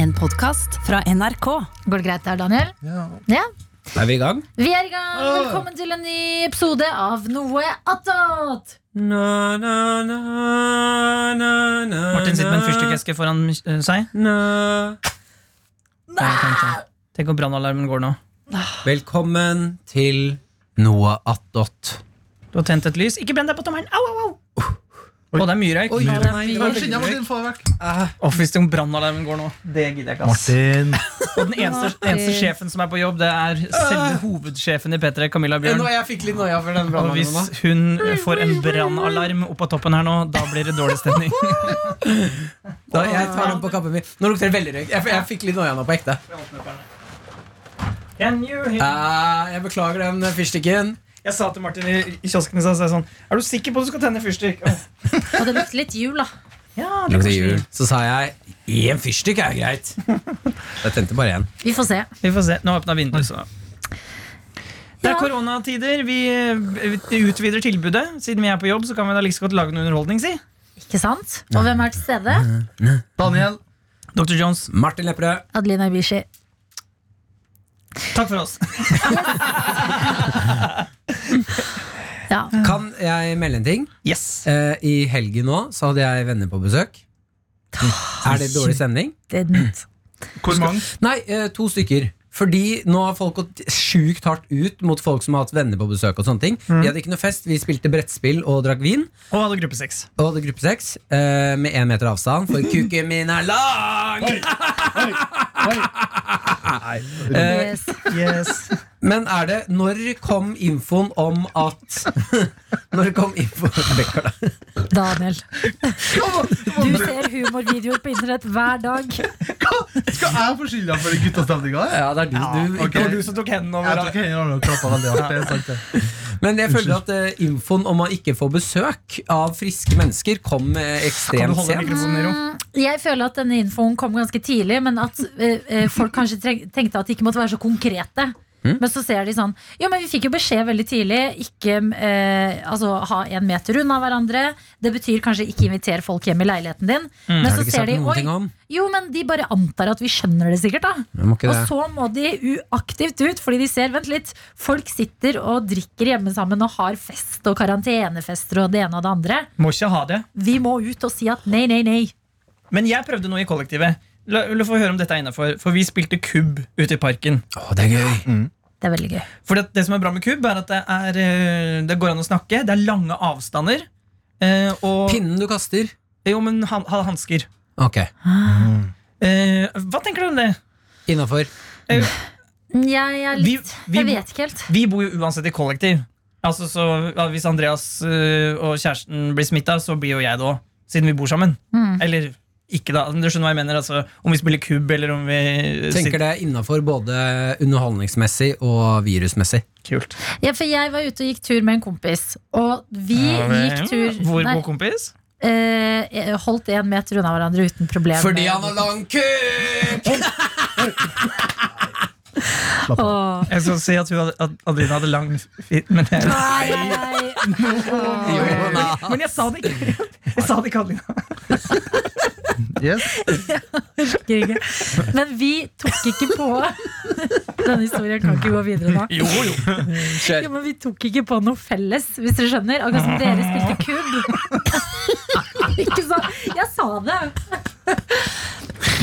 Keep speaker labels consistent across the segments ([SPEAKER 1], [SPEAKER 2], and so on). [SPEAKER 1] En podkast fra NRK.
[SPEAKER 2] Går det greit der, Daniel? Ja.
[SPEAKER 3] Er vi i gang?
[SPEAKER 2] Vi er i gang. Velkommen til en ny episode av Noe attåt.
[SPEAKER 4] Na, na, na, na, na,
[SPEAKER 5] Martin sitter med en fyrstikkeske foran eh, seg.
[SPEAKER 4] na.
[SPEAKER 5] Tenk om brannalarmen går nå.
[SPEAKER 3] Velkommen til Noah Attåt.
[SPEAKER 5] Du har tent et lys. Ikke brenn deg på tommelen! Au, au, au! Å, det er mye røyk.
[SPEAKER 3] Oi,
[SPEAKER 5] Mye røyk.
[SPEAKER 3] nei,
[SPEAKER 2] det
[SPEAKER 3] det
[SPEAKER 2] var
[SPEAKER 3] var
[SPEAKER 2] veldig
[SPEAKER 3] veldig mørkt.
[SPEAKER 5] Å, hvis den brannalarmen går nå. Det gidder jeg ikke, ass.
[SPEAKER 4] Martin.
[SPEAKER 5] Og den eneste, eneste sjefen som er på jobb, det er selve hovedsjefen i P3, Camilla
[SPEAKER 3] Eh,
[SPEAKER 5] Bjørn.
[SPEAKER 3] nå, jeg fikk litt noia for den
[SPEAKER 5] Og hvis
[SPEAKER 3] brannalarmen.
[SPEAKER 5] hun får en brannalarm opp på toppen her nå, da blir det dårlig stemning.
[SPEAKER 3] Da, jeg tar den på kappen min. Nå lukter det veldig røyk. Jeg, jeg fikk litt noia nå på ekte.
[SPEAKER 5] Can you hear-
[SPEAKER 3] Eh, jeg beklager den eh, fyrstikken.
[SPEAKER 5] Jeg sa til Martin i i kiosken i stad så sa jeg sånn Er du sikker på at du skal tenne fyrstikk? Å,
[SPEAKER 2] Og det lukter litt jul, da.
[SPEAKER 5] Ja, det er koselig.
[SPEAKER 3] Så sa jeg én fyrstikk er jo greit. Jeg tente bare én.
[SPEAKER 2] Vi får se.
[SPEAKER 5] Vi får se. Nå åpna vinduet, så Det
[SPEAKER 2] Ja.
[SPEAKER 5] er koronatider. Vi eh, vi utvider tilbudet. Siden vi er på jobb, så kan vi da like så godt lage noe underholdning, si.
[SPEAKER 2] Ikke sant? Og hvem er til stede?
[SPEAKER 4] Daniel.
[SPEAKER 5] Dr. Jones,
[SPEAKER 3] Martin Lepperød.
[SPEAKER 2] Adelina Ibishi.
[SPEAKER 5] takk for oss.
[SPEAKER 2] Ja.
[SPEAKER 3] Kan jeg melde en ting?
[SPEAKER 5] Yes.
[SPEAKER 3] Eh, I helgen nå så hadde jeg venner på besøk. Er det dårlig stemning?
[SPEAKER 2] Det er nytt.
[SPEAKER 5] Hvor mange?
[SPEAKER 3] Nei, eh, to stykker. Fordi nå har folk gått sjukt hardt ut mot folk som har hatt venner på besøk. og sånne ting Vi hadde ikke noe fest, vi spilte brettspill og drakk vin.
[SPEAKER 5] Og hadde gruppe seks.
[SPEAKER 3] Og hadde gruppe seks eh, med én meter avstand, for kuken min er lang! Eh,
[SPEAKER 2] Yes.
[SPEAKER 5] Yes.
[SPEAKER 3] men er det Når kom infoen om at Når kom infoen Bekker, da.
[SPEAKER 2] Daniel. Du ser humorvideoer på internett hver dag.
[SPEAKER 4] Skal jeg få skylda for guttastemninga?
[SPEAKER 3] Ja, det er du, du,
[SPEAKER 4] ok.
[SPEAKER 5] Det var du som tok hendene
[SPEAKER 4] Jeg
[SPEAKER 5] over
[SPEAKER 4] tok hendene over og klappa veldig hardt. Det er sant, det.
[SPEAKER 3] Men jeg føler at eh, infoen om å ikke få besøk av friske mennesker kom eh,
[SPEAKER 5] Kan du
[SPEAKER 3] ekstremt
[SPEAKER 5] holde
[SPEAKER 3] sent.
[SPEAKER 5] mikrofonen i ro?
[SPEAKER 2] Mm, Jeg føler at denne infoen kom ganske tidlig, men at eh, eh, folk kanskje treng tenkte at de ikke måtte være så konkrete.
[SPEAKER 3] Mm.
[SPEAKER 2] Men så ser de sånn Jo, men vi fikk jo beskjed veldig tidlig. Ikke eh, altså, ha en meter unna hverandre. Det betyr kanskje ikke invitere folk hjem i leiligheten din. Men
[SPEAKER 3] Mm. har
[SPEAKER 2] så
[SPEAKER 3] du ikke
[SPEAKER 2] ser
[SPEAKER 3] sagt
[SPEAKER 2] de
[SPEAKER 3] noen ting
[SPEAKER 2] Oi,
[SPEAKER 3] om?
[SPEAKER 2] jo, men de bare antar at vi skjønner det sikkert, da.
[SPEAKER 3] Jeg må ikke
[SPEAKER 2] Og
[SPEAKER 3] det.
[SPEAKER 2] så må de uaktivt ut, fordi de ser Vent litt. Folk sitter og drikker hjemme sammen og har fest og karantenefester og det ene og det andre.
[SPEAKER 5] Må ikke ha det.
[SPEAKER 2] Vi må ut og si at nei, nei, nei.
[SPEAKER 5] Men jeg prøvde noe i kollektivet. La, la få høre om dette er innafor. For vi spilte kubb ute i parken.
[SPEAKER 3] Å, det er gøy.
[SPEAKER 2] Det er veldig gøy.
[SPEAKER 5] For det, det som er bra med kubb, er at det, er, eh, det går an å snakke. Det er lange avstander. Eh, og
[SPEAKER 3] Pinnen du kaster.
[SPEAKER 5] Jo, men han, ha hansker.
[SPEAKER 3] Ok,
[SPEAKER 5] Eh, hva tenker du om det?
[SPEAKER 3] innafor.
[SPEAKER 2] Jeg, er
[SPEAKER 5] Vi-
[SPEAKER 2] litt,
[SPEAKER 5] vi
[SPEAKER 2] jeg
[SPEAKER 5] må-
[SPEAKER 2] vet ikke helt.
[SPEAKER 5] Vi bor jo uansett i kollektiv. Altså, så ja, Hvis Andreas eh, og kjæresten blir smitta, så blir jo jeg det òg. Siden vi bor sammen.
[SPEAKER 2] Mm.
[SPEAKER 5] Eller ikke, da. Men Du skjønner hva jeg mener? Altså, om vi spiller kubb, eller om vi eh,
[SPEAKER 3] Tenker det er innafor både underholdningsmessig og virusmessig.
[SPEAKER 5] Kult.
[SPEAKER 2] Ja, for jeg var ute og gikk tur med en kompis, og vi gikk tur
[SPEAKER 5] Hvor
[SPEAKER 2] nei,
[SPEAKER 5] god kompis?
[SPEAKER 2] eh, holdt én meter unna hverandre uten problem.
[SPEAKER 3] lang kuk!
[SPEAKER 2] Åh.
[SPEAKER 5] Jeg skal si at, hun hadde, at Adelina hadde lang fit, men jeg,
[SPEAKER 2] Nei, nei, nei.
[SPEAKER 5] men jeg sa det ikke. Jeg sa det ikke, Adelina.
[SPEAKER 4] Yes.
[SPEAKER 2] orker ikke. Men vi tok ikke på Denne historien kan ikke gå videre nå.
[SPEAKER 5] Jo, jo.
[SPEAKER 2] Ja, men vi tok ikke på noe felles, hvis dere skjønner. Akkurat som dere spilte kubb. ikke sant? Jeg sa det.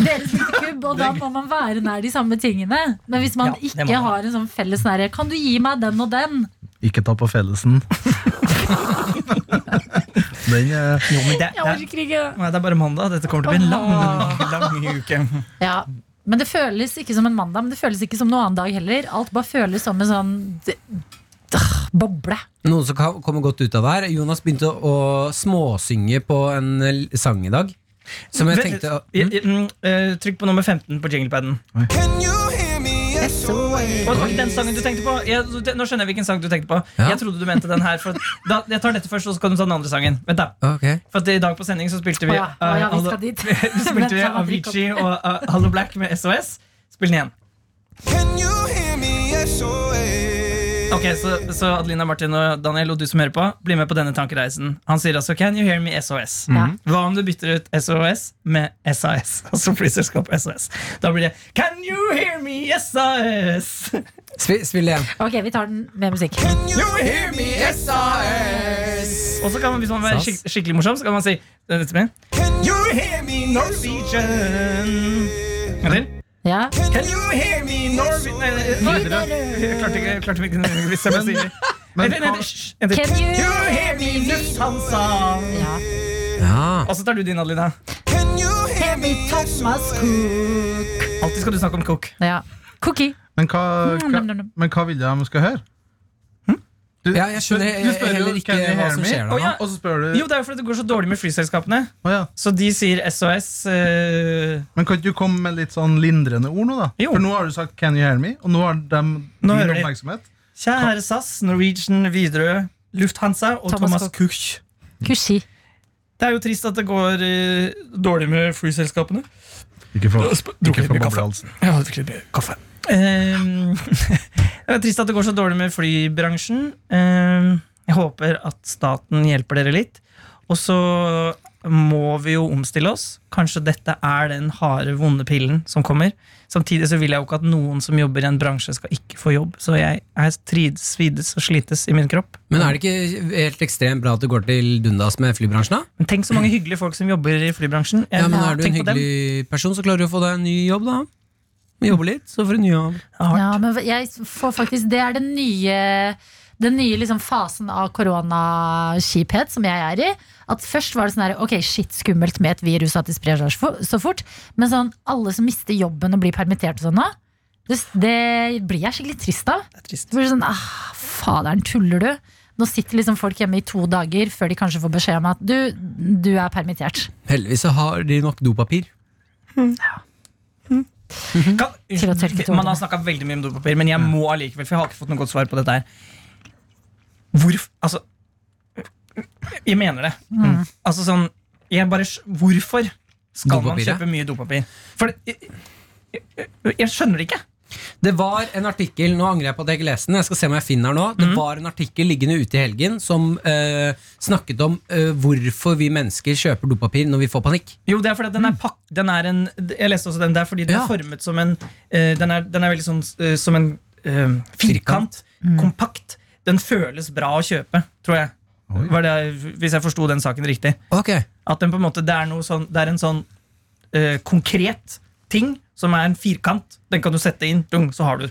[SPEAKER 2] Dere spilte kubb, og da må man være nær de samme tingene. Men hvis man
[SPEAKER 5] Ja, det må
[SPEAKER 2] ikke
[SPEAKER 5] man.
[SPEAKER 2] har en sånn felles nære Kan du gi meg den og den?
[SPEAKER 4] Ikke ta på fellesen.
[SPEAKER 6] eh,
[SPEAKER 4] Den eh,
[SPEAKER 5] jo men det,
[SPEAKER 2] Jeg
[SPEAKER 5] det,
[SPEAKER 2] orker ikke.
[SPEAKER 5] nei, det er bare mandag. Dette kommer til å bli en lang, lang uke.
[SPEAKER 2] Ja, men det føles ikke som en mandag, men det føles ikke som noen annen dag heller. Alt bare føles som en sånn d- d- boble.
[SPEAKER 3] Noen som kan- kommer godt ut av det her. Jonas begynte å småsynge på en l- sang i dag. Som jeg
[SPEAKER 5] Vent litt.
[SPEAKER 3] tenkte
[SPEAKER 5] Ja, ja, mm, eh, Trykk på nummer 15 på jinglepaden. Å, det var ikke den sangen du tenkte på. Jeg, det, nå skjønner jeg hvilken sang du tenkte på.
[SPEAKER 3] Ja.
[SPEAKER 5] Jeg trodde du mente den her. For at- da, jeg tar dette først, og så kan du ta den andre sangen. Vent da,
[SPEAKER 3] Ok.
[SPEAKER 5] for at I dag på sending så spilte
[SPEAKER 2] Å
[SPEAKER 5] vi,
[SPEAKER 2] ja, å Ah, ja, vi
[SPEAKER 5] eh,
[SPEAKER 2] skal
[SPEAKER 5] Hallo-
[SPEAKER 2] dit.
[SPEAKER 5] så spilte vi
[SPEAKER 2] Vent, la meg drikke opp.
[SPEAKER 5] Avicii og eh, Hallo oh, Black med SOS. Spill den igjen. Ok, så, så Adelina, Martin og Daniel, og du som hører på, bli med på denne tankereisen. Han sier altså 'Can you hear me SOS?'
[SPEAKER 2] Ja.
[SPEAKER 5] Hva om du bytter ut SOS med SAS? Altså flyselskapet SOS. Da blir det 'Can you hear me SAS?'
[SPEAKER 3] Spill, spill igjen.
[SPEAKER 2] Ok, vi tar den med musikk.
[SPEAKER 5] You hear me oh, SOS? Og så kan man, hvis man vil være
[SPEAKER 3] SAS.
[SPEAKER 5] skik skikkelig morsom, så kan man si eh, Vent litt. You hear me oh, Norwegian? En gang til.
[SPEAKER 2] Ja.
[SPEAKER 5] Can you hear me oh, Norwegian? Jeg klarte ikke jeg klarte ikke å stemme stille.
[SPEAKER 6] Men-
[SPEAKER 5] Vent, vent, hysj, en til.
[SPEAKER 2] Can you-
[SPEAKER 5] You hear me Lufthansa?
[SPEAKER 2] ja.
[SPEAKER 3] Ja.
[SPEAKER 5] Og så tar du din, Adelina. oh, Alltid skal du snakke om Cook.
[SPEAKER 2] ja. Cookie.
[SPEAKER 6] Men hva,
[SPEAKER 2] Mm, nam, nam,
[SPEAKER 6] hva,
[SPEAKER 2] nam.
[SPEAKER 6] men hva vil de de skal høre? Hm? Du,
[SPEAKER 3] Ja, jeg skjønner
[SPEAKER 6] du- du spør jo,
[SPEAKER 3] heller ikke
[SPEAKER 6] "Can you
[SPEAKER 3] hva
[SPEAKER 6] hear
[SPEAKER 3] som
[SPEAKER 6] me?"
[SPEAKER 3] skjer
[SPEAKER 5] Å,
[SPEAKER 3] der.
[SPEAKER 5] ja.
[SPEAKER 3] nå.
[SPEAKER 6] Og så spør du
[SPEAKER 5] Jo, det er jo fordi det går så dårlig med flyselskapene.
[SPEAKER 6] Å ja.
[SPEAKER 5] Så de sier SOS. eh,
[SPEAKER 6] Men kan ikke du komme med litt sånn lindrende ord nå, da?
[SPEAKER 5] Jo.
[SPEAKER 6] For nå har du sagt 'Can you hear me?' Og nå har de
[SPEAKER 5] Nå
[SPEAKER 6] din
[SPEAKER 5] hører de.
[SPEAKER 6] oppmerksomhet.
[SPEAKER 5] kjære SAS, Norwegian, Widerøe, Lufthansa og
[SPEAKER 2] Thomas
[SPEAKER 5] Thomas Cook.
[SPEAKER 2] Kushi.
[SPEAKER 5] Det er jo trist at det går eh, dårlig med flyselskapene.
[SPEAKER 6] Ikke få,
[SPEAKER 5] Drukket litt mye kaffe.
[SPEAKER 6] boblehalsen.
[SPEAKER 5] Ja, det fikk litt mer kaffe. Ehm, det er trist at det går så dårlig med flybransjen. Ehm, jeg håper at staten hjelper dere litt. Og så må vi jo omstille oss. Kanskje dette er den harde, vonde pillen som kommer. Samtidig så vil jeg jo ikke at noen som jobber i en bransje skal ikke få jobb. Så jeg er trides, svides og slites i min kropp.
[SPEAKER 3] Men er det ikke helt ekstremt bra at du går til dundas med flybransjen, da?
[SPEAKER 5] Men tenk så mange hyggelige folk som jobber i flybransjen. Jeg-
[SPEAKER 3] Ja, men er du en
[SPEAKER 5] tenk på dem.
[SPEAKER 3] hyggelig person, så klarer du å få deg en ny jobb, da. Jobbe litt, så får du en ny jobb.
[SPEAKER 5] Det er hardt.
[SPEAKER 2] Ja, men jeg får faktisk Det er den nye, den nye liksom fasen av koronaskiphet som jeg er i. At først var det sånn her Ok, shit, skummelt med et virus at det sprer seg så fo- så fort. Men sånn alle som mister jobben og blir permittert og sånn nå, det, det blir jeg skikkelig trist av.
[SPEAKER 5] Det er trist.
[SPEAKER 2] Det blir sånn ah, Faderen, tuller du? Nå sitter liksom folk hjemme i to dager før de kanskje får beskjed om at du, du er permittert.
[SPEAKER 3] Heldigvis så har de nok dopapir.
[SPEAKER 5] Kan,
[SPEAKER 2] Til å tørke tårene.
[SPEAKER 5] man har snakka veldig mye om dopapir, men jeg må allikevel, for jeg har ikke fått noe godt svar på dette her. Hvorfor Altså Jeg mener det.
[SPEAKER 2] Mm.
[SPEAKER 5] Altså sånn jeg bare, skj- Hvorfor skal man
[SPEAKER 3] Dopapiret?
[SPEAKER 5] kjøpe mye dopapir? For det, jeg, jeg, jeg skjønner det ikke.
[SPEAKER 3] Det var en artikkel, nå angrer jeg på at jeg ikke leste den, jeg skal se om jeg finner den nå. Det var en artikkel liggende ute i helgen som eh, snakket om eh, hvorfor vi mennesker kjøper dopapir når vi får panikk.
[SPEAKER 5] Jo, det er fordi at den er pakk, den er en, jeg leste også den, det er fordi den
[SPEAKER 3] Ja.
[SPEAKER 5] er formet som en eh, Den er, den er veldig sånn eh, som en eh, firkant. Kompakt. Den føles bra å kjøpe, tror jeg.
[SPEAKER 6] Oi.
[SPEAKER 5] Var det, hvis jeg forsto den saken riktig.
[SPEAKER 3] Ok.
[SPEAKER 5] At den på en måte, det er, noe sånn, det er en sånn eh, konkret ting som er en firkant. Den kan du sette inn, dung, så har du.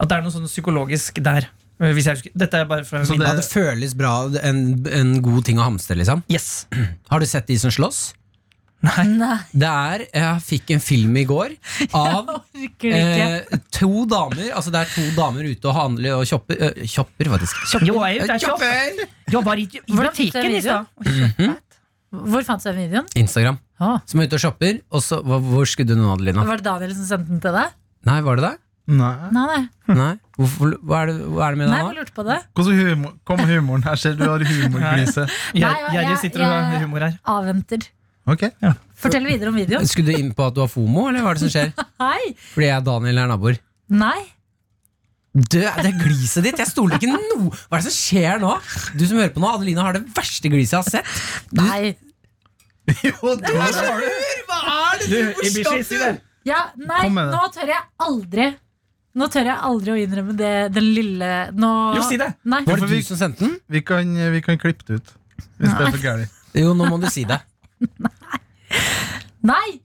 [SPEAKER 5] At det er noe sånn psykologisk der. eh, Hvis jeg husker. Dette er bare fra
[SPEAKER 6] Så
[SPEAKER 5] min
[SPEAKER 3] Ja, det føles bra, en, en god ting å hamstre, liksom.
[SPEAKER 5] Yes.
[SPEAKER 3] Har du sett de som slåss?
[SPEAKER 2] Nei,
[SPEAKER 3] Det er, jeg fikk en film i går av
[SPEAKER 2] orker ikke.
[SPEAKER 3] eh, to damer, altså det er to damer ute og handler og kjopper, eh, kjopper faktisk.
[SPEAKER 5] Jo, jeg, jeg, jeg,
[SPEAKER 3] Kjopper!
[SPEAKER 5] var i, i
[SPEAKER 2] Var det
[SPEAKER 5] butikken liksom. i
[SPEAKER 2] videoen?
[SPEAKER 5] stad.
[SPEAKER 2] Hvor fant du den videoen?
[SPEAKER 3] Instagram,
[SPEAKER 2] Å,
[SPEAKER 3] som er ute og shopper, og så, hva- hvor skulle du nå, Adelina?
[SPEAKER 2] var det Daniel som sendte den til deg?
[SPEAKER 3] Nei, var det deg?
[SPEAKER 6] Nei.
[SPEAKER 2] Nei, nei.
[SPEAKER 6] Hm.
[SPEAKER 3] Nei? Hvorfor, hva, er det, hva er det med
[SPEAKER 2] Nei,
[SPEAKER 3] deg
[SPEAKER 2] jeg
[SPEAKER 3] nå?
[SPEAKER 2] bare lurte på det.
[SPEAKER 6] Hvordan humor, kom humoren? Her ser du har humorkrise.
[SPEAKER 5] Jeg,
[SPEAKER 2] Nei,
[SPEAKER 5] jeg,
[SPEAKER 2] jeg-
[SPEAKER 5] sitter og har
[SPEAKER 2] jeg-
[SPEAKER 5] humor her.
[SPEAKER 2] Avventer.
[SPEAKER 6] Ok,
[SPEAKER 2] Fortell videre om videoen.
[SPEAKER 3] Skulle du inn på at du har fomo, eller hva er det som skjer?
[SPEAKER 2] Hei!
[SPEAKER 3] Fordi jeg og Daniel er naboer.
[SPEAKER 2] Nei.
[SPEAKER 3] Det, det er gliset ditt! Jeg stoler ikke noe! Hva er det som skjer nå? Du som hører på nå, Adelina har det verste gliset jeg har sett. Du,
[SPEAKER 2] Nei.
[SPEAKER 6] Jo, du har det.
[SPEAKER 5] Du, Ibishi, si det.
[SPEAKER 2] Ja, nei,
[SPEAKER 6] Kom med det.
[SPEAKER 2] nå tør jeg aldri Nå tør jeg aldri å innrømme det, den lille nå...
[SPEAKER 5] Jo, si det.
[SPEAKER 2] Nei.
[SPEAKER 3] var det du som sendte den?
[SPEAKER 6] Vi kan, vi kan klippe det ut. Hvis det er for gærent.
[SPEAKER 3] Jo, nå må du si det.
[SPEAKER 2] nei.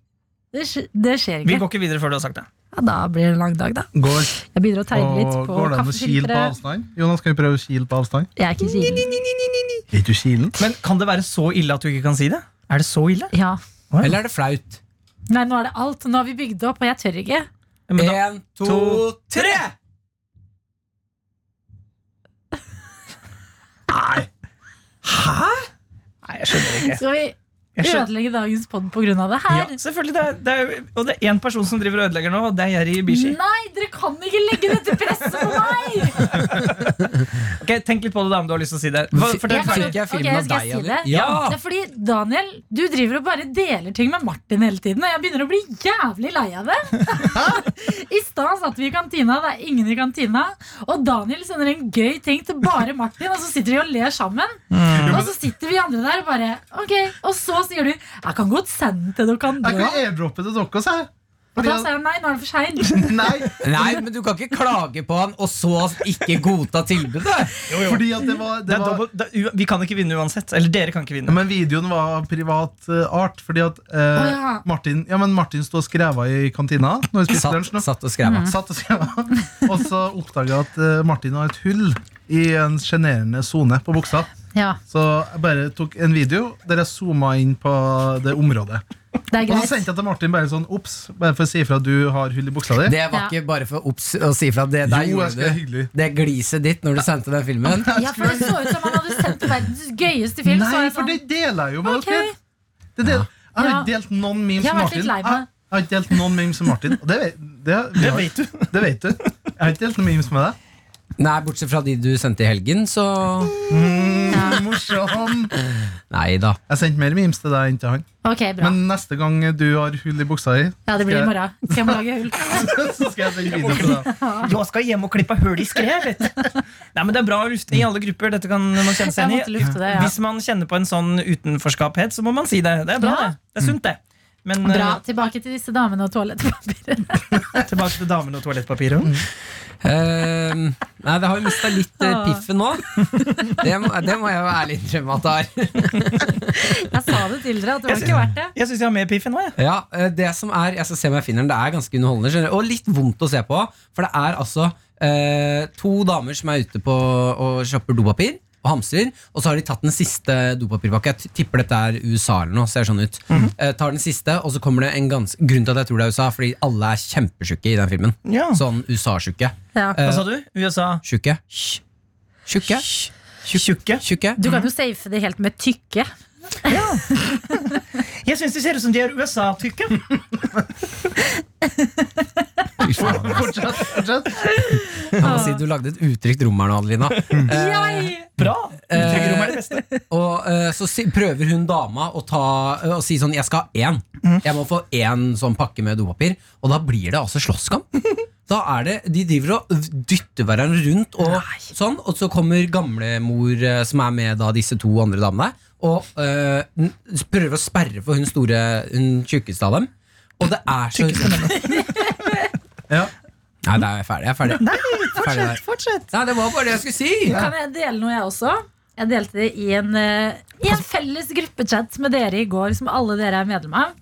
[SPEAKER 2] Det, skj- det skjer
[SPEAKER 5] Vi
[SPEAKER 2] ikke.
[SPEAKER 5] går ikke videre før du har sagt det.
[SPEAKER 2] Ja, da blir det en lang dag, da.
[SPEAKER 6] Går,
[SPEAKER 2] Jeg begynner å tegne litt
[SPEAKER 6] og,
[SPEAKER 2] på
[SPEAKER 6] går det an å kile på
[SPEAKER 2] kaffefilteret.
[SPEAKER 6] avstand? Jonas, kan vi prøve å kile på avstand?
[SPEAKER 2] Jeg er ikke kilen.
[SPEAKER 6] Er ikke du kilen?
[SPEAKER 5] Men kan det være så ille at du ikke kan si det? Er det så ille?
[SPEAKER 2] Ja.
[SPEAKER 3] Eller er det flaut?
[SPEAKER 2] Nei, nå er det alt. Nå har vi bygd opp, og jeg tør ikke.
[SPEAKER 5] Men da,
[SPEAKER 3] Én, to, tre!
[SPEAKER 5] nei, jeg skjønner det ikke.
[SPEAKER 2] Skal vi
[SPEAKER 5] Jeg skjønner-
[SPEAKER 2] Ødelegge dagens pod på grunn av det her?
[SPEAKER 5] Ja, selvfølgelig. Det er, det er, og det er én person som driver og ødelegger nå, og det er Jerry Ibishi.
[SPEAKER 2] Nei, dere kan ikke legge dette presset på meg!
[SPEAKER 5] Ok, tenk litt på det, da, om du har lyst til å si det. Hva-
[SPEAKER 3] F-
[SPEAKER 5] Fortell
[SPEAKER 2] kan-
[SPEAKER 5] ferdig.
[SPEAKER 3] Fikk jeg filmen
[SPEAKER 2] Ok,
[SPEAKER 3] av
[SPEAKER 2] skal
[SPEAKER 3] deg,
[SPEAKER 2] jeg si
[SPEAKER 3] Anne?
[SPEAKER 2] det?
[SPEAKER 3] Ja!
[SPEAKER 2] Det er fordi, Daniel, du driver og bare deler ting med Martin hele tiden, og jeg begynner å bli jævlig lei av det. I stad satt vi i kantina, det er ingen i kantina, og Daniel sender en gøy ting til bare Martin, og så sitter de og ler sammen.
[SPEAKER 6] Mm.
[SPEAKER 2] Og så sitter vi andre der og bare Ok, og så sier du 'Jeg kan godt sende den til dere
[SPEAKER 6] Jeg kan
[SPEAKER 2] andre'.
[SPEAKER 6] airdroppe til dere, sa jeg.
[SPEAKER 2] Og da
[SPEAKER 6] Fordi
[SPEAKER 2] sier han nei, nå er det for seint.
[SPEAKER 6] at, nei,
[SPEAKER 3] Nei, men du kan ikke klage på han og så ikke godta tilbudet.
[SPEAKER 6] fordi at det var,
[SPEAKER 5] Det
[SPEAKER 6] det
[SPEAKER 5] er
[SPEAKER 6] var
[SPEAKER 5] dobbelt, det, er u- vi kan ikke vinne uansett. Eller dere kan ikke
[SPEAKER 6] Ja,
[SPEAKER 5] vinne.
[SPEAKER 6] men videoen var av privat eh, art, fordi at eh,
[SPEAKER 2] Å, ja.
[SPEAKER 6] Martin, ja, men Martin stod og skreva i kantina når vi spiste
[SPEAKER 3] Satt,
[SPEAKER 6] lunsj. nå.
[SPEAKER 3] satt og
[SPEAKER 2] Mm.
[SPEAKER 3] skrev.
[SPEAKER 2] Mhm.
[SPEAKER 3] han.
[SPEAKER 6] Satt og skreva. Og så oppdaga jeg at eh, Martin har et hull i en sjenerende sone på buksa.
[SPEAKER 2] Ja,
[SPEAKER 6] Så jeg bare tok en video der jeg zooma inn på det området.
[SPEAKER 2] det er
[SPEAKER 6] Og så
[SPEAKER 2] greit.
[SPEAKER 6] sendte jeg til Martin bare sånn ops, bare for å si ifra at du har hull i buksa di.
[SPEAKER 3] Det
[SPEAKER 2] Ja.
[SPEAKER 3] var ikke bare for obs å si fra. Det, der
[SPEAKER 6] Jo, jeg skal
[SPEAKER 3] gjorde
[SPEAKER 6] være
[SPEAKER 3] du
[SPEAKER 6] hyggelig.
[SPEAKER 3] det gliset ditt når du sendte den filmen.
[SPEAKER 2] Ja, for det så ut som han hadde sendt verdens gøyeste film. så var
[SPEAKER 6] Nei,
[SPEAKER 2] jeg
[SPEAKER 6] for
[SPEAKER 2] sånn,
[SPEAKER 6] det deler jeg jo med
[SPEAKER 2] Ok.
[SPEAKER 6] dere. Det del, jeg har
[SPEAKER 2] Ja.
[SPEAKER 6] ikke delt noen memes
[SPEAKER 2] Jeg
[SPEAKER 6] med
[SPEAKER 2] har vært litt
[SPEAKER 6] Martin.
[SPEAKER 2] lei
[SPEAKER 6] Jeg,
[SPEAKER 2] meg.
[SPEAKER 6] jeg har ikke delt noen memes med Martin. Og det, vet- det,
[SPEAKER 5] Det vet du.
[SPEAKER 6] Det vet du. Jeg har ikke delt noen memes med deg.
[SPEAKER 3] Nei, bortsett fra de du sendte i helgen, så
[SPEAKER 6] Morsom.
[SPEAKER 3] Nei da.
[SPEAKER 6] Jeg sendte mer memes til deg enn til han.
[SPEAKER 2] sånn, Ok, bra.
[SPEAKER 6] Men neste gang du har hull i buksa di,
[SPEAKER 2] Ja, det blir i
[SPEAKER 6] Skal-
[SPEAKER 2] morgen. Skal jeg må lage hull?
[SPEAKER 6] så skal jeg sende video til deg.
[SPEAKER 5] Jeg skal hjem og klippe hull i skrevet. Nei, men Det er bra å lufte i alle grupper. Dette kan man kjenne
[SPEAKER 2] Jeg
[SPEAKER 5] seg
[SPEAKER 2] måtte
[SPEAKER 5] igjen i.
[SPEAKER 2] lufte det, ja.
[SPEAKER 5] Hvis man kjenner på en sånn utenforskaphet, så må man si det. Det er bra,
[SPEAKER 2] Ja.
[SPEAKER 5] det. Det er sunt, det. Men
[SPEAKER 2] Bra.
[SPEAKER 5] eh,
[SPEAKER 2] Tilbake til disse damene og toalettpapiret.
[SPEAKER 5] tilbake til damene og toalettpapiret.
[SPEAKER 2] Mm.
[SPEAKER 3] Eh, nei, det har jo mista litt eh, piffen nå. Det må, det må jeg jo ærlig innrømme at det har.
[SPEAKER 2] Jeg sa det til dere, at det var ikke verdt det.
[SPEAKER 5] Jeg syns jeg har mer piff enn nå. jeg
[SPEAKER 3] Ja, eh, det som er, jeg skal se om jeg finner den, det er ganske underholdende, skjønner du, og litt vondt å se på, for det er altså eh, to damer som er ute på og shopper dopapir, og hamstrer, og så har de tatt den siste dopapirpakka, jeg t- tipper dette er USA eller noe, ser sånn ut, eh, tar den siste, og så kommer det en ganske, grunn til at jeg tror det er USA, fordi alle er kjempesjukke i den filmen,
[SPEAKER 5] Ja.
[SPEAKER 3] sånn USA-sjukke,
[SPEAKER 2] Ja.
[SPEAKER 5] Hva sa du? USA?
[SPEAKER 3] sjukke, sjukke,
[SPEAKER 5] Tjukke?
[SPEAKER 3] sjukke,
[SPEAKER 2] Du kan jo safe det helt med tykke.
[SPEAKER 5] Jeg syns de ser ut som de er USA-tykke.
[SPEAKER 6] Fortsett. fortsett.
[SPEAKER 3] jeg må si du lagde et uttrykt rom her nå, Adelina.
[SPEAKER 2] Jeg!
[SPEAKER 5] Bra!
[SPEAKER 3] Eh,
[SPEAKER 5] Utryggerom er det beste.
[SPEAKER 3] Og eh, så si, prøver hun dama å ta, eh, å si sånn Jeg skal ha én. Jeg må få én sånn pakke med dopapir. Og da blir det altså slåsskamp. Da er det, De driver og dytter hverandre rundt, og sånn Og så kommer gamlemor, eh, som er med da disse to andre damene, og eh, n- prøver å sperre for hun store Hun tjukkeste av dem. Og det er så
[SPEAKER 6] Ja.
[SPEAKER 3] Nei, det er jeg ferdig. Jeg er ferdig. Nei, fortsett,
[SPEAKER 5] fortsett.
[SPEAKER 3] Nei, det var bare det jeg skulle si.
[SPEAKER 2] Kan jeg dele noe, jeg også? Jeg delte det i en, eh, i en felles gruppechat med dere i går, som alle dere er medlem av.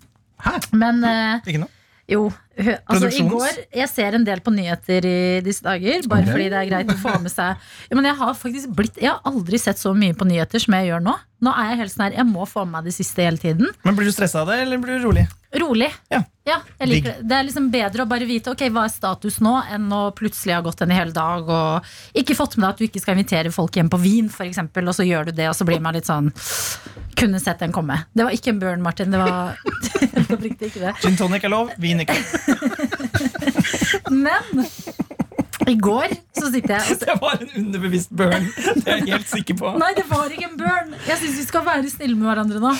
[SPEAKER 2] Men eh,
[SPEAKER 5] Ikke noe?
[SPEAKER 2] Jo. hø- Altså, I
[SPEAKER 5] Produksjons-
[SPEAKER 2] går, Jeg ser en del på nyheter i disse dager, bare fordi det er greit å få med seg. Ja, men jeg har faktisk blitt Jeg har aldri sett så mye på nyheter som jeg gjør nå. Nå er Jeg helt sånn her, jeg må få med meg det siste hele tiden.
[SPEAKER 5] Men Blir du stressa av det, eller blir du rolig?
[SPEAKER 2] Rolig.
[SPEAKER 5] Ja.
[SPEAKER 2] jeg liker det. det er liksom bedre å bare vite ok, hva er status nå, enn å plutselig ha gått en hel dag og ikke fått med deg at du ikke skal invitere folk hjem på vin, f.eks., og så gjør du det, og så blir man litt sånn Kunne sett den komme. Det var ikke en burn, Martin. Det var oppriktig ikke det.
[SPEAKER 5] Gin tonic er lov, vin ikke.
[SPEAKER 2] Men i går så sitter jeg og
[SPEAKER 5] Det var en underbevisst burn. Det er jeg helt sikker på.
[SPEAKER 2] Nei, det var ikke en burn. Jeg syns vi skal være snille med hverandre nå.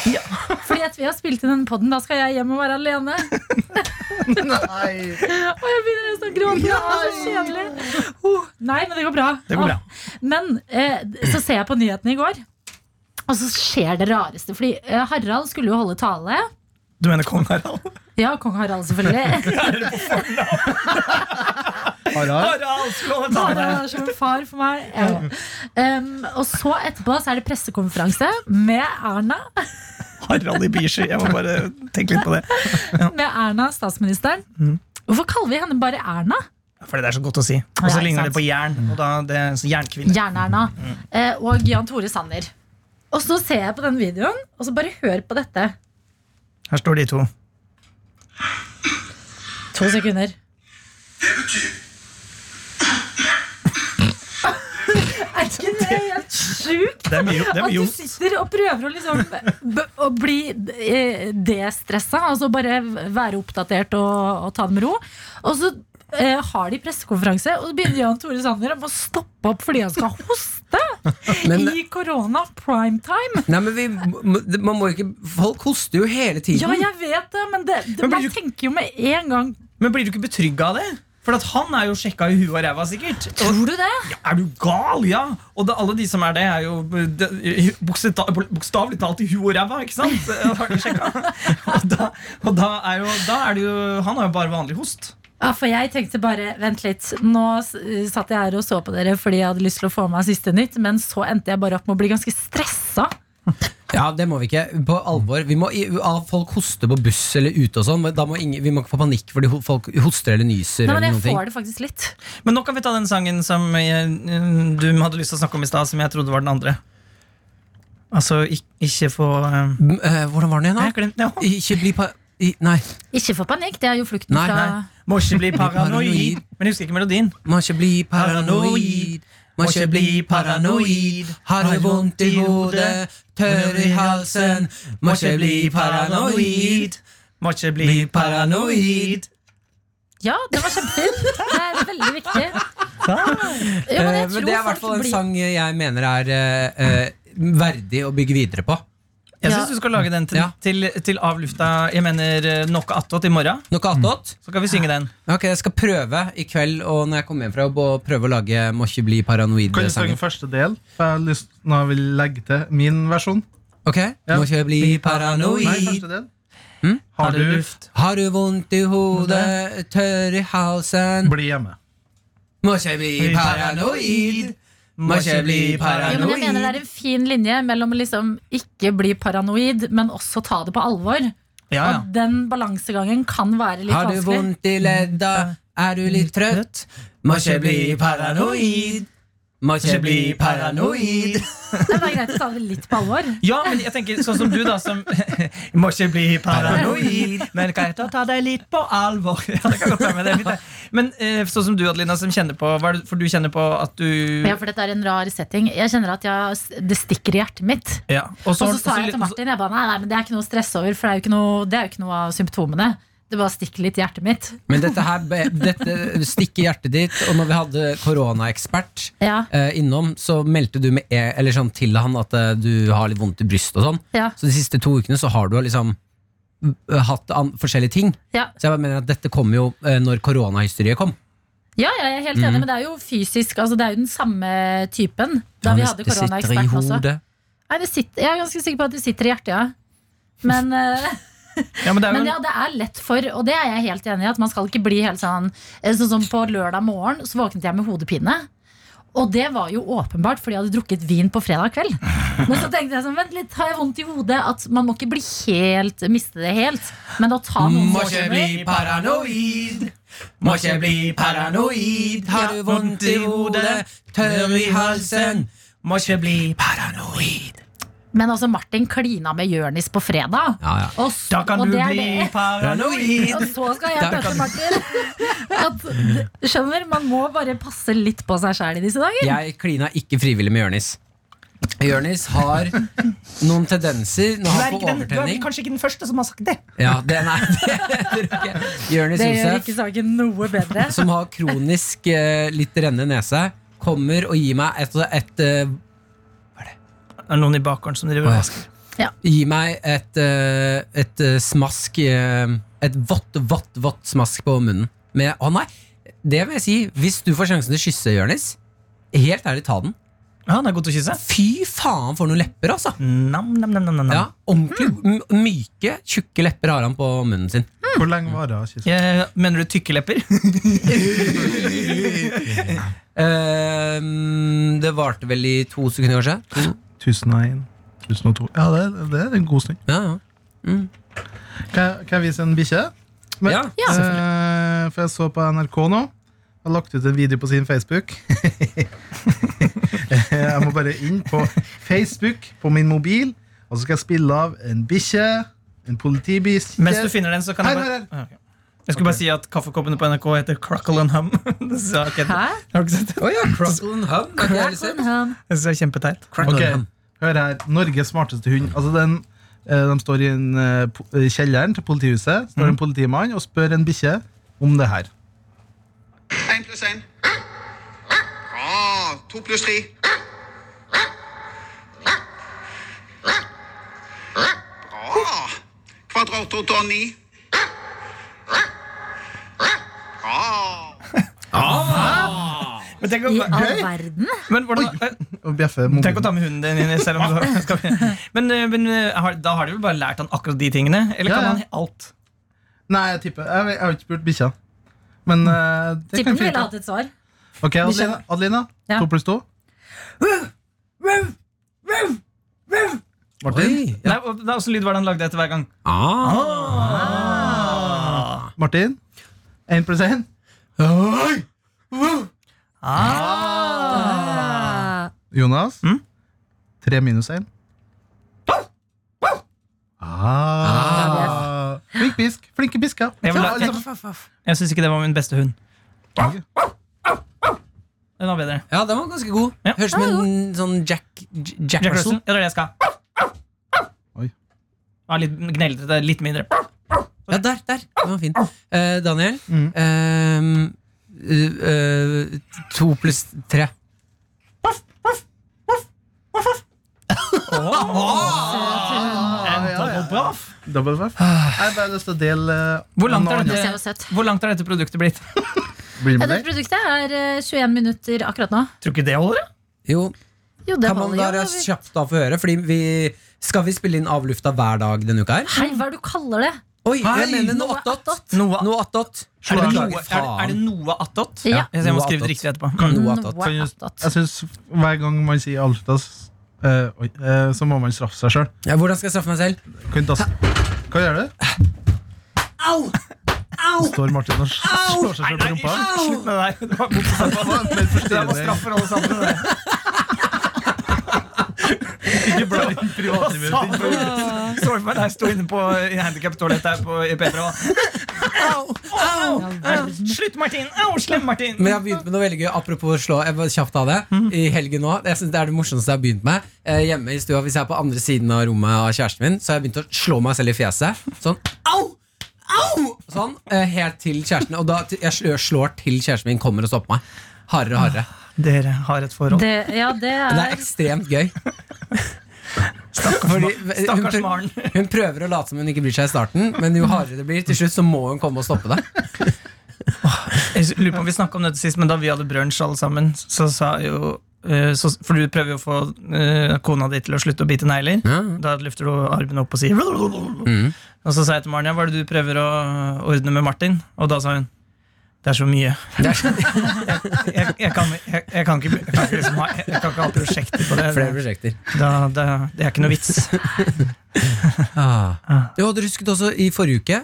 [SPEAKER 2] Fordi at vi har spilt inn denne podden, da skal jeg hjem og være alene.
[SPEAKER 6] Nei.
[SPEAKER 2] Og jeg begynner nesten å gråte. Det er så kjedelig. Oh, nei, men det går bra.
[SPEAKER 5] Det går bra.
[SPEAKER 2] Ah, Men eh, så ser jeg på nyhetene i går, og så skjer det rareste. Fordi eh, Harald skulle jo holde tale.
[SPEAKER 5] Du mener kong Harald?
[SPEAKER 2] Ja, kong Harald, selvfølgelig.
[SPEAKER 6] Harald.
[SPEAKER 5] Harald skulle holde
[SPEAKER 2] Harald
[SPEAKER 5] tale!
[SPEAKER 2] er som en far for meg. Ja. Um, og så etterpå så er det pressekonferanse med Erna.
[SPEAKER 5] Harald i Bishi. Jeg må bare tenke litt på det.
[SPEAKER 2] Med Erna, statsministeren.
[SPEAKER 5] Mm.
[SPEAKER 2] Hvorfor kaller vi henne bare Erna?
[SPEAKER 5] Fordi det er så godt å si. Og
[SPEAKER 2] Ja,
[SPEAKER 5] så
[SPEAKER 2] ikke
[SPEAKER 5] ligner
[SPEAKER 2] sant.
[SPEAKER 5] det på jern. Og da er det er så jernkvinne.
[SPEAKER 2] Jern-Erna
[SPEAKER 5] Mm.
[SPEAKER 2] eh, og Jan Tore Sanner. Og så ser jeg på den videoen, og så bare hør på dette.
[SPEAKER 5] Her står de to.
[SPEAKER 2] To sekunder.
[SPEAKER 7] Det betyr
[SPEAKER 2] ikke det helt sjukt?
[SPEAKER 5] Det er mye, det er
[SPEAKER 2] At
[SPEAKER 5] mye
[SPEAKER 2] du
[SPEAKER 5] ondt.
[SPEAKER 2] sitter og prøver å liksom b- å bli eh, destressa. Altså bare være oppdatert og, og ta det med ro. Og så eh, har de pressekonferanse, og så begynner Jan Tore Sanner om å stoppe opp fordi han skal hoste
[SPEAKER 3] Men,
[SPEAKER 2] i korona primetime.
[SPEAKER 3] nei, men vi, må- det- man må ikke Folk hoster jo hele tiden.
[SPEAKER 2] Ja, jeg vet det, men det, det,
[SPEAKER 5] Men blir
[SPEAKER 2] man
[SPEAKER 5] du-
[SPEAKER 2] tenker jo med en gang
[SPEAKER 5] Men blir du ikke betrygga av det? For at han er jo sjekka i huet og ræva, sikkert. Og,
[SPEAKER 2] Tror du det?
[SPEAKER 5] ja, er du gal? Ja! Og det, alle de som er det, er jo det- boksta- bokstavelig talt i huet og ræva, ikke sant? Har de sjekka? Og, da, og da, er jo, da er det jo Han har jo bare vanlig host.
[SPEAKER 2] Ja, Ah, for jeg tenkte bare, vent litt Nå s- satt jeg her og så på dere Fordi jeg hadde lyst til å få med meg siste nytt Men så endte jeg bare opp med å bli ganske stressa
[SPEAKER 3] Ja, det må vi ikke. På alvor. Vi må, i- av folk hoster på buss eller ute og sånn. men Da må ingen, vi må ikke få panikk fordi ho- folk hoster eller nyser.
[SPEAKER 2] Nei, men
[SPEAKER 3] eller
[SPEAKER 2] jeg
[SPEAKER 3] noen ting.
[SPEAKER 2] får det faktisk litt
[SPEAKER 5] Men nå kan vi ta den sangen som jeg, eh, du hadde lyst til å snakke om i stad, som jeg trodde var den andre. Altså, ikke, ikke få eh,
[SPEAKER 3] M, eh, hvordan var den igjen,
[SPEAKER 5] Jeg
[SPEAKER 3] da?
[SPEAKER 5] har glemt det òg.
[SPEAKER 3] Ikke bli pa... I, nei,
[SPEAKER 2] Ikke for panikk, det er jo flukten
[SPEAKER 3] Nei,
[SPEAKER 2] fra
[SPEAKER 3] nei.
[SPEAKER 5] Må ikke bli paranoid.
[SPEAKER 3] paranoid.
[SPEAKER 5] Men jeg husker ikke melodien.
[SPEAKER 3] må ikke bli paranoid. Må ikke bli paranoid. Har du vondt i hodet, tørr i halsen. Må ikke bli paranoid.
[SPEAKER 5] Må ikke
[SPEAKER 3] Bli paranoid.
[SPEAKER 2] Ja, det var kjempefint Det er veldig viktig jo, men,
[SPEAKER 3] Sånn. Eh,
[SPEAKER 2] jeg
[SPEAKER 3] Men
[SPEAKER 2] tror
[SPEAKER 3] det er i
[SPEAKER 2] folk
[SPEAKER 3] hvert fall en
[SPEAKER 2] blir-
[SPEAKER 3] sang jeg mener er eh, eh, verdig å bygge videre på.
[SPEAKER 5] Jeg
[SPEAKER 2] Ja.
[SPEAKER 5] syns du skal lage den til,
[SPEAKER 3] Ja.
[SPEAKER 5] til, til av lufta. Jeg mener eh, nok attåt i morgen.
[SPEAKER 3] Noe attåt?
[SPEAKER 5] Så kan vi synge den.
[SPEAKER 3] Mm. Ok, Jeg skal prøve i kveld og når jeg kommer hjem fra jobb å prøve å lage 'Må ikke bli
[SPEAKER 6] Kan du
[SPEAKER 3] paranoid'-sangen.
[SPEAKER 6] synge første del? For jeg har lyst Nå vil jeg legge til min versjon.
[SPEAKER 3] Ok?
[SPEAKER 6] Ja.
[SPEAKER 3] Må ikke bli
[SPEAKER 6] Nei,
[SPEAKER 3] paranoid.
[SPEAKER 6] første del.
[SPEAKER 3] Mm?
[SPEAKER 6] Hmm? Har du
[SPEAKER 3] Har du vondt i hodet, tørr i halsen?
[SPEAKER 6] Bli hjemme.
[SPEAKER 3] Må ikke bli paranoid. Må ikke bli
[SPEAKER 2] jo, men jeg
[SPEAKER 3] paranoid.
[SPEAKER 2] mener det er en fin linje mellom å liksom ikke bli paranoid, men også ta det på alvor.
[SPEAKER 5] Ja, ja.
[SPEAKER 2] Og den balansegangen kan være litt
[SPEAKER 3] Har du
[SPEAKER 2] vanskelig.
[SPEAKER 3] vondt i ledda? Er du litt trøtt? Må ikke bli paranoid. Må ikke bli paranoid.
[SPEAKER 2] Det er greit å ta det litt på alvor.
[SPEAKER 5] Ja, men jeg tenker sånn som du, da, som Må ikke bli paranoid, men kan jeg ta- ta deg litt på alvor? Ja, det kan godt være med det. er fint, det. Men eh, sånn som du, Adelina, som kjenner på hva er det, For du kjenner på at
[SPEAKER 3] Mm.
[SPEAKER 5] du
[SPEAKER 2] Ja, for dette er en rar setting. Jeg kjenner at jeg, det stikker i hjertet mitt.
[SPEAKER 5] Ja, Og
[SPEAKER 3] Sånn-
[SPEAKER 2] Og så sa jeg til Martin jeg ba, nei, nei, men det er ikke noe å stresse over, for det er jo ikke noe, det er jo ikke noe av symptomene. Det bare stikker litt i hjertet mitt.
[SPEAKER 3] Men dette her be- dette stikker hjertet ditt, og når vi hadde koronaekspert
[SPEAKER 2] Ja,
[SPEAKER 3] eh, innom, så meldte du med e eller sånn til han at eh, du har litt vondt i brystet og sånn.
[SPEAKER 2] ja,
[SPEAKER 3] Så de siste to ukene så har du liksom mm, hatt an forskjellige ting.
[SPEAKER 2] ja.
[SPEAKER 3] Så jeg bare mener at dette kom jo eh, når koronahysteriet kom.
[SPEAKER 2] ja, ja jeg er helt
[SPEAKER 3] Mm.
[SPEAKER 2] enig, men det er jo fysisk. Altså, det er jo den samme typen da vi hadde
[SPEAKER 3] det sitter i
[SPEAKER 2] koronaeksperten også.
[SPEAKER 3] hodet.
[SPEAKER 2] Nei, det sitter, jeg er ganske sikker på at det sitter i hjertet, ja. Men, eh,
[SPEAKER 5] Ja, men det er jo
[SPEAKER 2] men ja, det er lett for, og det er jeg helt enig i, at man skal ikke bli helt sånn eh, Sånn som på lørdag morgen, så våknet jeg med hodepine. Og det var jo åpenbart fordi jeg hadde drukket vin på fredag kveld. Men så tenkte jeg sånn, vent litt, har jeg vondt i hodet? At man må ikke bli helt, miste det helt. Men å ta noen
[SPEAKER 3] Må ikke bli
[SPEAKER 2] småtimer
[SPEAKER 3] paranoid. Må ikke bli paranoid. Har du vondt i hodet, tørr i halsen.
[SPEAKER 5] Må ikke bli
[SPEAKER 3] Paranoid.
[SPEAKER 2] Men altså, Martin klina med Jørnis på fredag.
[SPEAKER 3] Ja, ja.
[SPEAKER 2] Og, så,
[SPEAKER 5] Da kan
[SPEAKER 2] og
[SPEAKER 5] du
[SPEAKER 2] det er
[SPEAKER 5] bli
[SPEAKER 2] det.
[SPEAKER 5] paranoid.
[SPEAKER 2] Og så skal jeg
[SPEAKER 3] Da
[SPEAKER 2] møte Martin. At, skjønner, Man må bare passe litt på seg sjæl i disse dager.
[SPEAKER 3] Jeg klina ikke frivillig med Jørnis. Jørnis har noen tendenser når han får overtenning.
[SPEAKER 5] kanskje ikke den første som har sagt det.
[SPEAKER 3] Ja, det, nei, det tror jeg ikke. Jørnis
[SPEAKER 2] Det gjør
[SPEAKER 3] Josef,
[SPEAKER 2] ikke saken noe bedre.
[SPEAKER 3] som har kronisk eh, litt rennende nese, kommer og gir meg et, et eh,
[SPEAKER 5] Det er noen i bakgården som driver og vasker.
[SPEAKER 3] Gi meg et, eh, et eh, smask eh, Et vått, vått, vått smask på munnen. Med, å nei, det vil jeg si. Hvis du får sjansen til å kysse Jørnis, helt ærlig, ta den.
[SPEAKER 5] Ja, han er god til å kysse.
[SPEAKER 3] Fy faen for noen lepper, altså!
[SPEAKER 5] Nam, nam, nam, nam, nam.
[SPEAKER 3] Ja, ordentlig m- myke, tjukke lepper har han på munnen sin.
[SPEAKER 6] Hvor lenge varer kyssen?
[SPEAKER 5] Jeg, Eh, mener du tykke lepper?
[SPEAKER 3] Ehm, det varte vel i to sekunder, kanskje? To-
[SPEAKER 6] 1001, 1002 Ja, det, det er en god stund.
[SPEAKER 3] Ja, ja.
[SPEAKER 6] Kan, jeg- kan jeg vise en bikkje? Men-
[SPEAKER 3] ja.
[SPEAKER 2] Ja.
[SPEAKER 6] Eh, for jeg så på NRK nå. Har lagt ut en video på sin Facebook. jeg må bare inn på Facebook på min mobil, og så skal jeg spille av en bikkje, en politibikkje
[SPEAKER 5] Mens du finner den, så kan jeg
[SPEAKER 6] Her, her,
[SPEAKER 5] bare... Ah, ok. Jeg skulle bare si at kaffekoppene på NRK heter Crackle and Hum. det synes jeg, ikke-
[SPEAKER 2] Hæ?
[SPEAKER 5] jeg har ikke sett det.
[SPEAKER 3] Å ja, Crackle and Hum. Er ikke det jeg
[SPEAKER 2] Crack
[SPEAKER 3] ser?
[SPEAKER 2] on hum.
[SPEAKER 5] Jeg synes det er kjempeteit.
[SPEAKER 3] Crackle
[SPEAKER 6] Ok,
[SPEAKER 3] and Hum.
[SPEAKER 6] Hør her. Norges smarteste hund. Altså den, eh, de står i en, eh, po- i kjelleren til politihuset. Står
[SPEAKER 5] Mhm.
[SPEAKER 6] en politimann og spør en bikkje om det her.
[SPEAKER 7] 1 pluss 1. Bra. 2 pluss 3. Bra. Kvadrat 8 og 9. Bra.
[SPEAKER 5] Men tenk,
[SPEAKER 2] I
[SPEAKER 5] å-
[SPEAKER 2] all verden?
[SPEAKER 5] men hvordan, eh,
[SPEAKER 6] Og bjeffer
[SPEAKER 5] tenk å ta
[SPEAKER 6] mobilen.
[SPEAKER 5] med hunden din inn. i- Selv om du har, skal vi- men eh, men eh, har, da har de vel bare lært han akkurat de tingene? Eller
[SPEAKER 6] Ja,
[SPEAKER 5] kan
[SPEAKER 6] ja.
[SPEAKER 5] han alt?
[SPEAKER 6] Nei, jeg tipper Jeg, vet- jeg har ikke spurt bikkja. Men eh, det
[SPEAKER 2] Tipper
[SPEAKER 6] kan
[SPEAKER 2] du
[SPEAKER 6] vi
[SPEAKER 2] ville
[SPEAKER 6] finne ut
[SPEAKER 2] hatt et svar.
[SPEAKER 6] av. Ok, Adelina. Adelina
[SPEAKER 2] Ja.
[SPEAKER 6] To pluss to.
[SPEAKER 3] Oi, ja.
[SPEAKER 5] Nei, og det er også lyd hva han lagde etter hver gang.
[SPEAKER 3] Ah.
[SPEAKER 6] Martin. Én pluss én. Jonas. Tre minus én. Ah. Flink bisk. Flinke bisker.
[SPEAKER 5] Jeg, vil
[SPEAKER 6] Ja, liksom.
[SPEAKER 5] ha-
[SPEAKER 6] alle sammen.
[SPEAKER 5] jeg syns ikke det var min beste hund.
[SPEAKER 6] Ah,
[SPEAKER 5] Den var bedre.
[SPEAKER 3] Ja, den var ganske god.
[SPEAKER 5] Ja.
[SPEAKER 3] Høres ut som en sånn Jack, J- Jack, Russell.
[SPEAKER 5] Jack Russell. Ja, det er det jeg skal.
[SPEAKER 6] Oi.
[SPEAKER 5] Ja, litt gneldrete, litt mindre.
[SPEAKER 3] Ja, der, der. Den var fin. Eh, Daniel.
[SPEAKER 5] Mm.
[SPEAKER 3] ehm, eh, eh, to pluss tre.
[SPEAKER 5] En double buff.
[SPEAKER 6] Double buff. Jeg har bare lyst til å dele eh,
[SPEAKER 5] Hvor langt
[SPEAKER 6] noe
[SPEAKER 5] er
[SPEAKER 2] Det
[SPEAKER 5] det?
[SPEAKER 6] annet.
[SPEAKER 2] ser jo søtt.
[SPEAKER 5] Hvor langt har dette produktet blitt?
[SPEAKER 2] Ja,
[SPEAKER 6] Blir med
[SPEAKER 2] dette
[SPEAKER 6] deg?
[SPEAKER 2] produktet er eh, 21 minutter akkurat nå.
[SPEAKER 5] Tror ikke det holder?
[SPEAKER 3] Jo,
[SPEAKER 2] Jo, det
[SPEAKER 3] kan man
[SPEAKER 2] holder
[SPEAKER 3] bare
[SPEAKER 2] jo. Vi-
[SPEAKER 3] kjapt da få høre? Fordi vi skal vi spille inn av lufta hver dag denne uka her?
[SPEAKER 2] Hei, hva er det du kaller det?
[SPEAKER 3] Oi,
[SPEAKER 6] Hei!
[SPEAKER 3] jeg mener
[SPEAKER 2] Noe
[SPEAKER 3] noe attåt!
[SPEAKER 2] attåt.
[SPEAKER 5] Noe-
[SPEAKER 3] Noe attåt.
[SPEAKER 5] Er det
[SPEAKER 3] Beklager,
[SPEAKER 5] noe, er det, er det
[SPEAKER 3] faen.
[SPEAKER 5] noe attåt?
[SPEAKER 2] Ja.
[SPEAKER 5] Jeg, jeg må
[SPEAKER 3] Noe
[SPEAKER 5] skrive det
[SPEAKER 3] attåt.
[SPEAKER 5] riktig etterpå.
[SPEAKER 3] Noe
[SPEAKER 2] Noe
[SPEAKER 3] attåt.
[SPEAKER 2] attåt.
[SPEAKER 6] Jeg syns hver gang man sier Alftas, eh, oi, eh, så må man straffe seg sjøl.
[SPEAKER 3] Ja, hvordan skal jeg straffe meg selv?
[SPEAKER 6] Hva gjør du?
[SPEAKER 3] Au! Au!
[SPEAKER 6] Står Martin og slår seg sjøl på rumpa?
[SPEAKER 5] Slutt med det der. Det var vondt å snakke
[SPEAKER 6] Det
[SPEAKER 5] om.
[SPEAKER 6] var litt
[SPEAKER 5] Det der var
[SPEAKER 6] forstyrrende.
[SPEAKER 5] straff for alle sammen. det der.
[SPEAKER 6] Ikke bla inn privatlivet ditt.
[SPEAKER 5] Sorry for meg, jeg sto inne på i handicap-toalettet her på i P3. Au! Au! Slutt, Martin! Au, slem Martin!
[SPEAKER 3] Men jeg har begynt med noe veldig gøy. Apropos slå, jeg bare kjapt av det. I helgen nå, jeg synes Det er det morsomste jeg har begynt med. Eh, hjemme i stua, Hvis jeg er på andre siden av rommet av kjæresten min, så har jeg begynt å slå meg selv i fjeset. Sånn, au! Au! Sånn, eh, Helt til kjæresten. Og da til- jeg slår, slår til kjæresten min kommer og stopper meg. Hardere og hardere.
[SPEAKER 5] Dere har et forhold.
[SPEAKER 2] Det, ja, det
[SPEAKER 3] Men Det er
[SPEAKER 2] er
[SPEAKER 3] ekstremt gøy. Fordi hun,
[SPEAKER 5] Stakkars
[SPEAKER 3] prø-
[SPEAKER 5] Maren.
[SPEAKER 3] hun prøver å late som hun ikke bryr seg i starten, men jo hardere det blir, til slutt så må hun komme og stoppe det.
[SPEAKER 5] Jeg lurer på om vi snakket om dette sist, men da vi hadde brunsj alle sammen, så sa jo eh, så, For du prøver jo å få eh, kona di til å slutte å bite negler. Da løfter du armen opp og sier
[SPEAKER 3] Mm.
[SPEAKER 5] Og så sa jeg til Maren ja, hva er det du prøver å ordne med Martin? Og da sa hun det er så mye.
[SPEAKER 3] Det er så-
[SPEAKER 5] Jeg, jeg, kan, jeg, jeg, kan, ikke, jeg, kan, ikke liksom ha, jeg kan ikke ha prosjekter på det.
[SPEAKER 3] Flere prosjekter.
[SPEAKER 5] Da, da, det er ikke noe vits.
[SPEAKER 3] Ah. Jo, du husket også i forrige uke,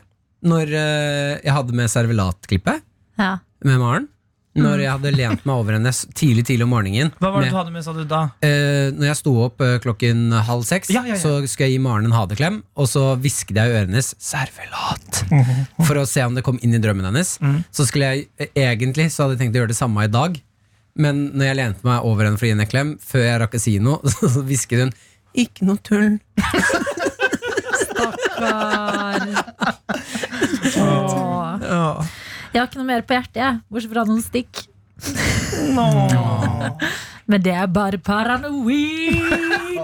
[SPEAKER 3] når eh, jeg hadde med servelatklippet
[SPEAKER 2] ja.
[SPEAKER 3] med Maren. Når jeg hadde lent meg over henne s- tidlig tidlig om morgenen.
[SPEAKER 5] Mm. Hva var det
[SPEAKER 3] med-
[SPEAKER 5] du hadde med, sa du da?
[SPEAKER 3] Eh, når jeg sto opp eh, klokken halv seks,
[SPEAKER 5] Ja, ja, ja.
[SPEAKER 3] så skulle jeg gi Maren en hadeklem, og så hvisket jeg i øret hennes 'servelat',
[SPEAKER 5] Mm-hmm.
[SPEAKER 3] for å se om det kom inn i drømmen hennes.
[SPEAKER 5] Mm.
[SPEAKER 3] Så skulle jeg eh, Egentlig så hadde jeg tenkt å gjøre det samme i dag, men når jeg lente meg over henne for å gi henne en klem, før jeg rakk å si noe, så hvisket hun 'ikke noe tull'.
[SPEAKER 2] Åh. Jeg har ikke noe mer på hjertet, jeg. Bortsett fra noen stikk. Men det er bare paranoid.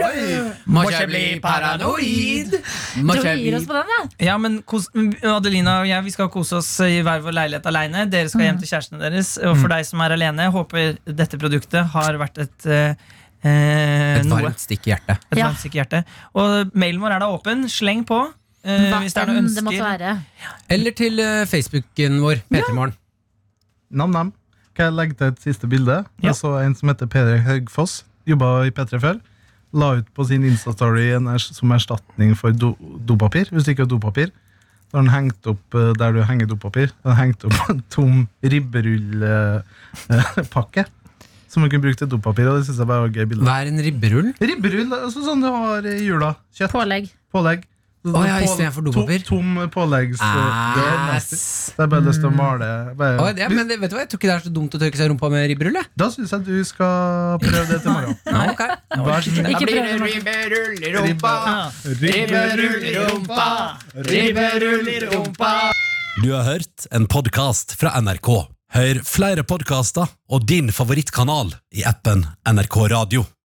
[SPEAKER 3] Må
[SPEAKER 5] ikke bli paranoid.
[SPEAKER 3] Må
[SPEAKER 2] Tror
[SPEAKER 3] ikke
[SPEAKER 2] vi gir oss på den, jeg.
[SPEAKER 5] Ja, men kos, Adelina og jeg vi skal kose oss i hver vår leilighet alene. Dere skal hjem til kjærestene deres. Og
[SPEAKER 3] Mm.
[SPEAKER 5] for deg som er alene, håper dette produktet har vært et eh, eh,
[SPEAKER 3] Et
[SPEAKER 5] noe.
[SPEAKER 3] varmt stikk i hjertet.
[SPEAKER 5] Et
[SPEAKER 2] Ja.
[SPEAKER 5] varmt stikk i hjertet. Og mailen vår er da åpen. Sleng på. eh,
[SPEAKER 2] Hva
[SPEAKER 5] hvis det er noen
[SPEAKER 2] enn det måtte
[SPEAKER 5] ønsker.
[SPEAKER 2] være.
[SPEAKER 3] Eller til eh, Facebooken vår, P3morgen.
[SPEAKER 6] Nam-nam. Kan jeg legge til et siste bilde?
[SPEAKER 5] Ja.
[SPEAKER 6] Jeg så en som heter Peder Haugfoss. Jobba i P3 før. La ut på sin Insta-story en ers- som erstatning for do, dopapir. Hvis du ikke har dopapir. Da har han hengt opp eh, der du henger dopapir, da har han hengt opp en tom ribberullpakke. eh, Som man kunne brukt til dopapir. Og det synes jeg bare var et gøy bilde.
[SPEAKER 3] Hva er en ribberull?
[SPEAKER 6] Ribberull, altså sånn du har i jula. Kjøtt,
[SPEAKER 2] Pålegg.
[SPEAKER 6] pålegg.
[SPEAKER 8] Å ja, i stedet for dopapir?
[SPEAKER 6] To, tom påleggs... Det er nasty.
[SPEAKER 8] Ass.
[SPEAKER 6] Så jeg bare har lyst til å male bare,
[SPEAKER 8] Å, det, men det, vet du hva, Jeg tror ikke det er så dumt å tørke seg i rumpa med ribberull. jeg.
[SPEAKER 6] Da syns jeg du skal prøve det til morgen.
[SPEAKER 8] Ja, ok.
[SPEAKER 6] Vær så snill.
[SPEAKER 2] Ikke prøv det, Martin.
[SPEAKER 6] Ribbe-
[SPEAKER 9] Ribberullerumpa, ribberullerumpa.
[SPEAKER 3] Du har hørt en podcast fra NRK. Hør flere podcaster og din favorittkanal i appen NRK Radio.